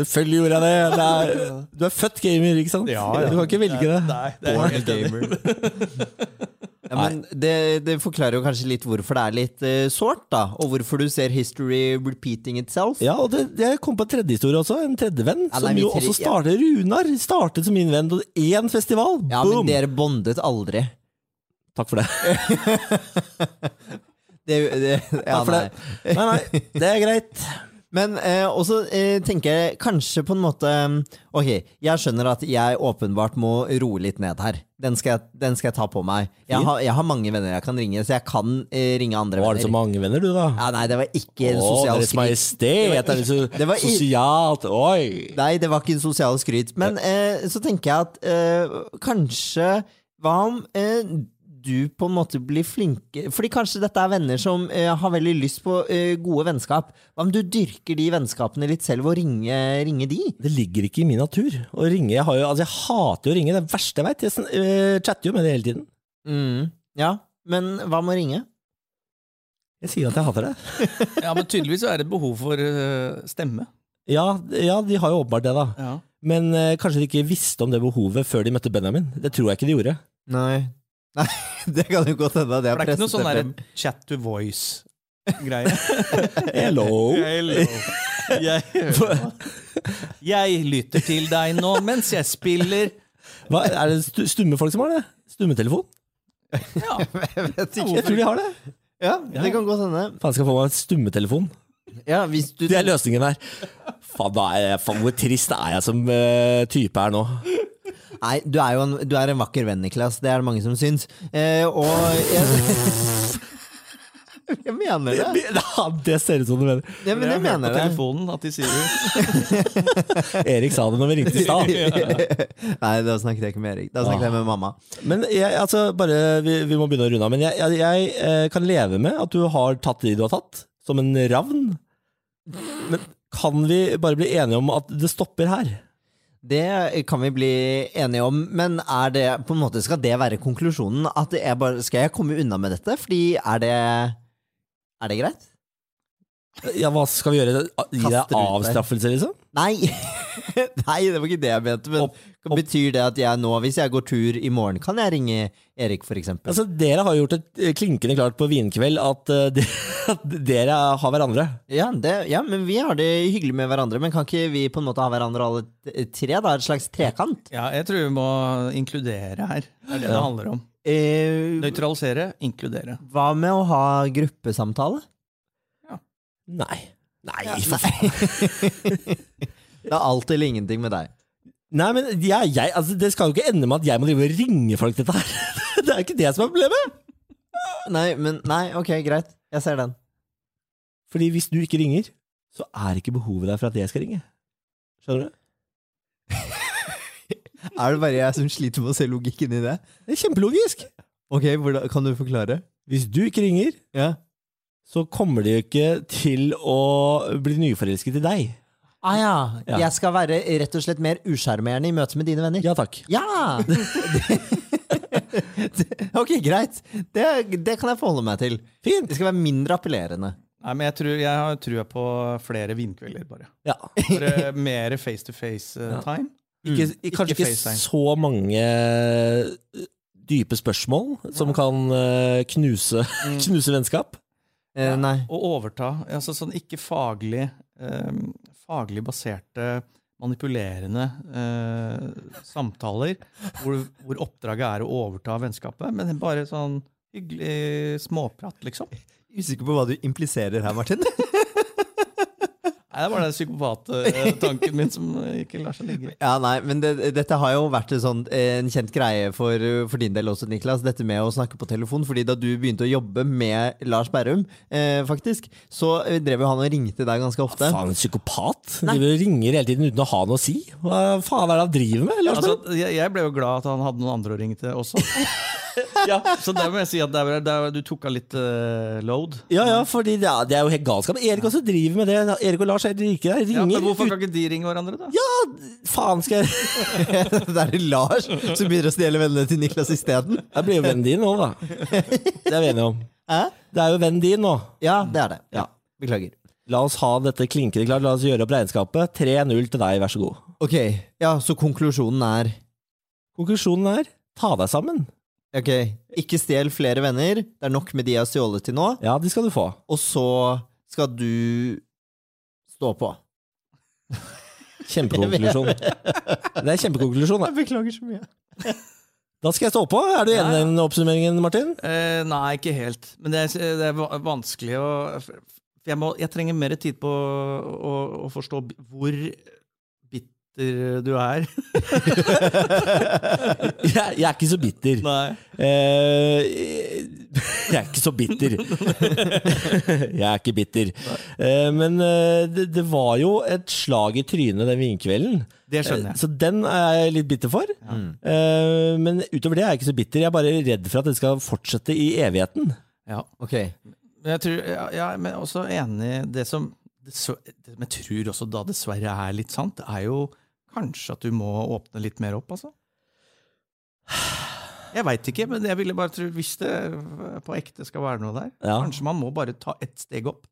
A: Selvfølgelig gjorde jeg det. det er, du er født gamer, ikke sant? Du kan ikke velge det.
C: Nei, det er helt enig.
B: Ja, men det, det forklarer jo kanskje litt hvorfor det er litt eh, sårt, da. Og hvorfor du ser history repeating itself.
A: Ja, og det, Jeg kom på en tredje historie også. En tredje venn
B: Ja, nei,
A: som
B: vi
A: jo
B: tre-
A: også startet. Runar startet som min venn på én festival.
B: Ja, men
A: Boom!
B: dere bondet aldri.
A: Takk for det.
B: Det, det, ja,
A: Takk for
B: nei.
A: det. Nei, nei, det er greit.
B: Men eh, også eh, tenker jeg kanskje på en måte mm, Ok, jeg skjønner at jeg åpenbart må roe litt ned her. Den skal jeg, den skal jeg ta på meg. Jeg har, jeg har mange venner jeg kan ringe, så jeg kan eh, ringe andre
A: Var det så
B: venner.
A: mange venner, du, da?
B: Ja, nei, det var ikke en
A: Å,
B: sosial
A: Deres
B: skryt.
A: Majestet! Det er så
B: det var i-
A: sosialt. Oi!
B: Nei, det var ikke en sosial skryt. Men eh, så tenker jeg at eh, kanskje Hva om eh, du på en måte blir flinke Fordi kanskje dette er venner som eh, har veldig lyst på eh, gode vennskap. Hva om du dyrker de vennskapene litt selv og ringer ringe de?
A: Det ligger ikke i min natur å ringe. Jeg, har jo, altså, jeg hater jo å ringe. Det er det verste jeg veit. Jeg sn- øh, chatter jo med det hele tiden.
C: Mm.
B: Ja, men hva med å ringe?
A: Jeg sier at jeg hater det.
C: Ja, men tydeligvis så er det et behov for eh, stemme.
A: Ja, ja de har jo åpenbart det, da.
C: Ja.
A: Men øh, kanskje de ikke visste om det behovet før de møtte Benjamin. Det tror jeg ikke de gjorde.
B: Nei. Nei, det kan jo godt hende. at jeg
C: For det er ikke noe
B: presset
C: sånn
B: det
C: der
B: frem.
C: chat to voice-greie.
A: Hello!
C: Hello. Jeg, hører på. jeg lytter til deg nå mens jeg spiller.
A: Hva, er det stu- stumme folk som har det? Stummetelefon?
C: Ja,
B: Jeg vet
A: Jeg tror
B: ikke.
A: de har det.
B: Ja, det kan godt hende.
A: Faen, skal jeg få meg en stummetelefon.
B: Ja, hvis du
A: Det er løsningen her. Faen, da er jeg, faen hvor trist er jeg som øh, type her nå.
B: Nei, du er jo en, du er en vakker venn, Niklas. Det er det mange som syns. Eh, og jeg, jeg mener det.
A: Ja, det ser ut som du mener.
B: Ja, men jeg
C: har hørt
B: mener
C: på
B: det.
C: telefonen at de sier det.
A: Erik sa det når vi ringte i stad.
B: Nei, da snakket jeg ikke med Erik. Da snakket jeg med mamma.
A: Men jeg, altså, bare, vi, vi må begynne å runde av. Men jeg, jeg, jeg eh, kan leve med at du har tatt de du har tatt, som en ravn. Men kan vi bare bli enige om at det stopper her?
B: Det kan vi bli enige om, men er det, på en måte skal det være konklusjonen? At jeg bare, skal jeg komme unna med dette? Fordi er det, er det greit?
A: Ja, hva skal vi gjøre? Gi
B: Kaster ut
A: deg
B: der.
A: avstraffelse, liksom?
B: Nei! Nei, det var ikke det jeg mente. Men
A: Opp- opp-
B: betyr det at jeg nå, hvis jeg går tur i morgen, kan jeg ringe Erik, for eksempel?
A: Altså, dere har gjort det eh, klinkende klart på vinkveld at, eh, de, at dere har hverandre.
B: Ja, det, ja, men vi har det hyggelig med hverandre, men kan ikke vi på en måte ha hverandre alle t- tre? da? Et slags trekant?
C: Ja, jeg tror vi må inkludere her. Det er det det handler om.
B: Eh,
C: Nøytralisere, inkludere.
B: hva med å ha gruppesamtale?
A: Nei. Nei,
B: Ja,
A: for faen.
B: nei. det er alt eller ingenting med deg.
A: Nei, men jeg, jeg, altså, det skal jo ikke ende med at jeg må drive og ringe folk dette her. Det er jo ikke det som er problemet.
B: Nei, men nei, ok, greit. Jeg ser den.
A: Fordi hvis du ikke ringer, så er ikke behovet der for at jeg skal ringe. Skjønner du?
B: Er det bare jeg som sliter med å se logikken i det?
A: Det er kjempelogisk.
B: Ok, Kan du forklare?
A: Hvis du ikke ringer,
B: Ja.
A: så kommer de jo ikke til å bli nyforelsket i deg.
B: Ah, ja.
A: Ja.
B: Jeg skal være rett og slett mer usjarmerende i møte med dine venner.
A: Ja takk.
B: Ja! Det- ok, greit. Det, det kan jeg forholde meg til.
A: Fint.
B: Det skal være mindre appellerende.
C: Nei, men jeg, tror, jeg har trua på flere vinkvelder, bare.
A: Ja.
C: Bare mer face to face eh,
A: Ja.
C: time.
A: Ikke, kanskje Mm. ikke
C: FaceTime.
A: så mange eh, dype spørsmål som kan eh, knuse, knuse vennskap.
B: Eh, nei.
C: Og overta. Altså sånn ikke faglig, eh, faglig baserte, manipulerende eh, samtaler hvor, hvor oppdraget er å overta vennskapet, men bare sånn hyggelig småprat, liksom. Nei,
B: Usikker på hva du impliserer her, Martin.
C: det var den psykopat-tanken min som ikke lar seg ligge.
B: Ja, nei, men det, Dette har jo vært en, sånn, en kjent greie for, eh, for din del også, Niklas. Dette med å snakke på telefon. fordi da du begynte å jobbe med Lars Berrum, eh, faktisk, så eh, drev jo han og ringte deg ganske ofte.
A: Faen, en psykopat. Driver og ringer hele tiden uten å ha noe å si. Hva faen er det han driver med? Lars
C: Altså,
A: Berrum?
C: jeg, jeg ble jo glad at han hadde noen andre å ringe til også. ja, så der må jeg si at der, der, du tok av litt eh, load.
A: ja, ja, fordi det er, det er jo helt galskap. Erik også driver med det. Erik og Lars er rike der.
C: Ja,
A: Ringer.
C: men hvorfor kan ikke de ringe hverandre, da?
A: ut- Faen skal jeg
B: det er Lars som begynner å stjele vennene til Niklas isteden.
A: Jeg blir jo vennen din nå, da. Det er vi enige om.
B: Hæ?
A: Det er jo vennen din nå.
B: Ja, det er det.
A: Ja.
B: Beklager.
A: La oss ha dette klinkende klart. La oss gjøre opp regnskapet. 3-0 til deg, vær så god.
B: Ok, ja, så konklusjonen er
A: Konklusjonen er ta deg sammen.
B: Ok, ikke stjel flere venner. Det er nok med de jeg har stjålet til nå.
A: Ja, de skal du få.
B: Og så skal du stå på.
A: Kjempekonklusjon. Det er kjempekonklusjon. da.
B: beklager så mye.
A: Da skal jeg stå på. Er du enig i den oppsummeringen, Martin?
C: Eh, nei, ikke helt. Men det er, det er va- vanskelig å for jeg, må, jeg trenger mer tid på å, å, å forstå b- hvor bit, bitter du er.
A: Jeg, jeg er ikke så bitter.
C: Nei.
A: Eh, jeg er ikke så bitter. jeg er ikke bitter. Eh, men eh, det, det var jo et slag i trynet den vinkvelden.
C: Det skjønner jeg.
A: Eh, Så den er jeg litt bitter for. Eh, men utover det er jeg ikke så bitter. Jeg er bare redd for at det skal fortsette i evigheten.
C: Ja.
B: Ok.
C: Men jeg, tror, ja, ja, men også enig i det som, det så- det som jeg tror også da dessverre er litt sant, det er jo kanskje at du må åpne litt mer opp, altså. Jeg veit ikke, men jeg ville bare tro, hvis det på ekte skal være noe der,
A: Ja.
C: kanskje man må bare ta ett steg opp.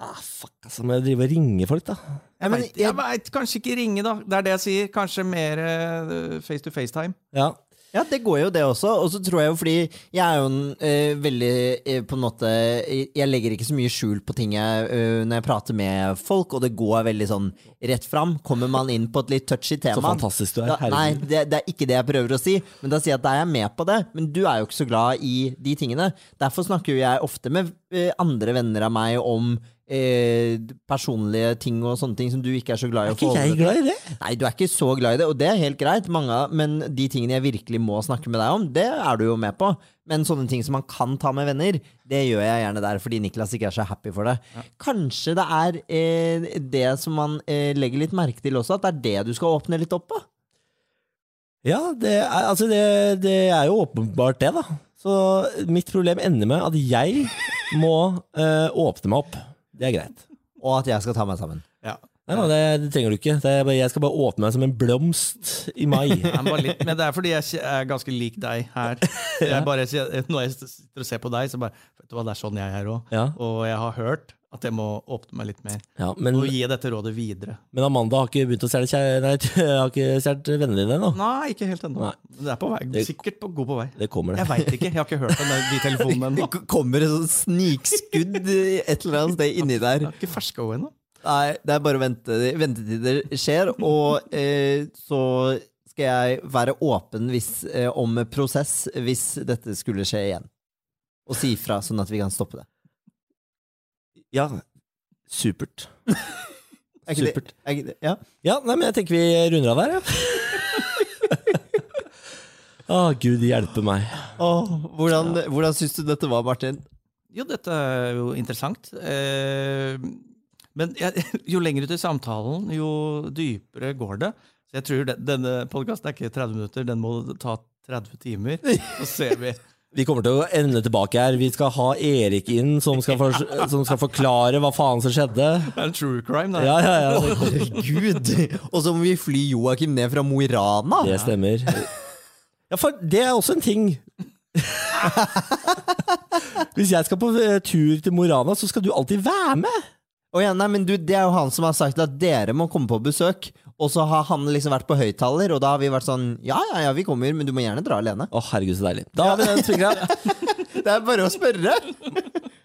A: Ah, fuck, altså. Må jeg drive og ringe folk, da?
C: Jeg
B: men
C: vet- jeg veit kanskje ikke ringe, da. Det er det jeg sier. Kanskje mer eh, face to face-time.
A: Ja.
B: Ja, det går jo det også, og så tror jeg jo fordi jeg er jo en eh, veldig eh, på en måte Jeg legger ikke så mye skjul på ting jeg, eh, når jeg prater med folk, og det går veldig sånn rett fram. Kommer man inn på et litt touchy tema
A: Så fantastisk du er.
B: da, Nei,
A: Herregud.
B: det, det er ikke det jeg prøver å si, men da sier jeg at da er jeg med på det. Men du er jo ikke så glad i de tingene. Derfor snakker jo jeg ofte med eh, andre venner av meg om eh, personlige ting og sånne ting som du ikke er så glad i
A: Er
B: å
A: ikke
B: forholde deg
A: jeg
B: til.
A: glad i det?
B: Nei, du er ikke så glad i det, og det er helt greit, mange, av- men de tingene jeg virkelig må snakke med deg om, det er du jo med på. Men sånne ting som man kan ta med venner, det gjør jeg gjerne der, fordi Niklas ikke er så happy for det. Kanskje det er eh, det som man eh, legger litt merke til også, at det er det du skal åpne litt opp på.
A: Ja, det er, altså det, det er jo åpenbart det, da. Så mitt problem ender med at jeg må eh, åpne meg opp. Det er greit.
B: Og at jeg skal ta meg sammen.
C: Ja.
A: Nei, nei, det, det trenger du ikke. Det er bare, jeg skal bare åpne meg som en blomst i mai.
C: Nei, men bare litt, men det er fordi jeg kje- er ganske lik deg her. Jeg bare, kje- når jeg sitter og ser på deg, så bare vet du hva, Det er sånn jeg er òg.
A: Ja,
C: Og jeg har hørt at jeg må åpne meg litt mer.
A: ja, men,
C: Og gi dette rådet videre.
A: men Amanda har ikke begynt å stjele kjæ- Nei, har ikke stjålet vennene dine ennå.
C: Nei, ikke helt ennå.
A: Nei.
C: Men Det er på vei.
A: Det-
C: Sikkert på, god på vei.
A: Det kommer,
C: Jeg
A: det.
C: veit ikke. Jeg har ikke hørt om den- de telefonene ennå.
B: k- kommer et sånt snikskudd i et eller annet sted inni
C: Jeg
B: der.
C: har ikke ferska henne ennå.
B: Nei, det er bare å vente, ventetider skjer, og eh, så skal jeg være åpen hvis, eh, om prosess hvis dette skulle skje igjen. Og si ifra, sånn at vi kan stoppe det.
A: Ja, supert.
B: Er ikke det-
A: Supert.
B: er ikke det- Ja.
A: Ja, nei, men jeg tenker vi runder av der, jeg. Ja. Å, Ah, gud hjelpe meg.
B: Åh, hvordan hvordan syns du dette var, Martin?
C: Jo, dette er jo interessant. Eh, men jeg, jo lengre til samtalen, jo dypere går det. Så jeg tror det, denne podkasten er ikke 30 minutter, den må ta 30 timer. Så ser vi.
A: Vi kommer til å ende tilbake her. Vi skal ha Erik inn, som skal, for, som skal forklare hva faen som skjedde.
C: Det er en true crime, da.
A: Ja, ja, ja.
B: Herregud! Og så må vi fly Joakim ned fra Mo i Rana!
A: Det stemmer. Ja, for det er også en ting. Hvis jeg skal på eh, tur til Mo i Rana, så skal du alltid være med!
B: Å ja, nei, men du, Det er jo han som har sagt at dere må komme på besøk. Og så har han liksom vært på høyttaler, og da har vi vært sånn Ja, ja, ja, vi kommer, men du må gjerne dra alene.
A: Å, herregud, så deilig. Da har vi den spikra.
B: Det er bare å spørre!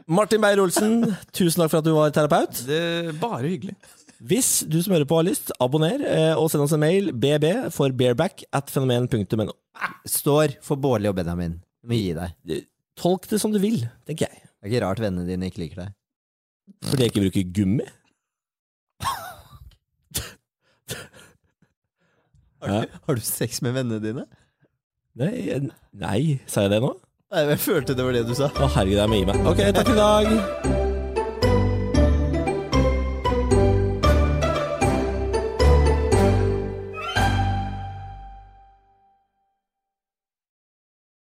A: Martin Beyer-Olsen, tusen takk for at du var terapeut.
C: Det er bare hyggelig.
A: Hvis du som hører på har lyst, abonner eh, og send oss en mail bb for bareback at fenomen.no.
B: Står for Bårli og Benjamin. Du må gi deg.
A: Eh, Tolk det som du vil, tenker jeg.
B: Det er ikke rart vennene dine ikke liker deg.
A: Fordi jeg ikke bruker gummi?
B: Har du, har du sex med vennene dine?
A: Nei, jeg- nei, sa jeg det nå?
B: Nei, Jeg følte det var det du sa.
A: Å herregud, jeg må gi meg. Ok, takk i dag.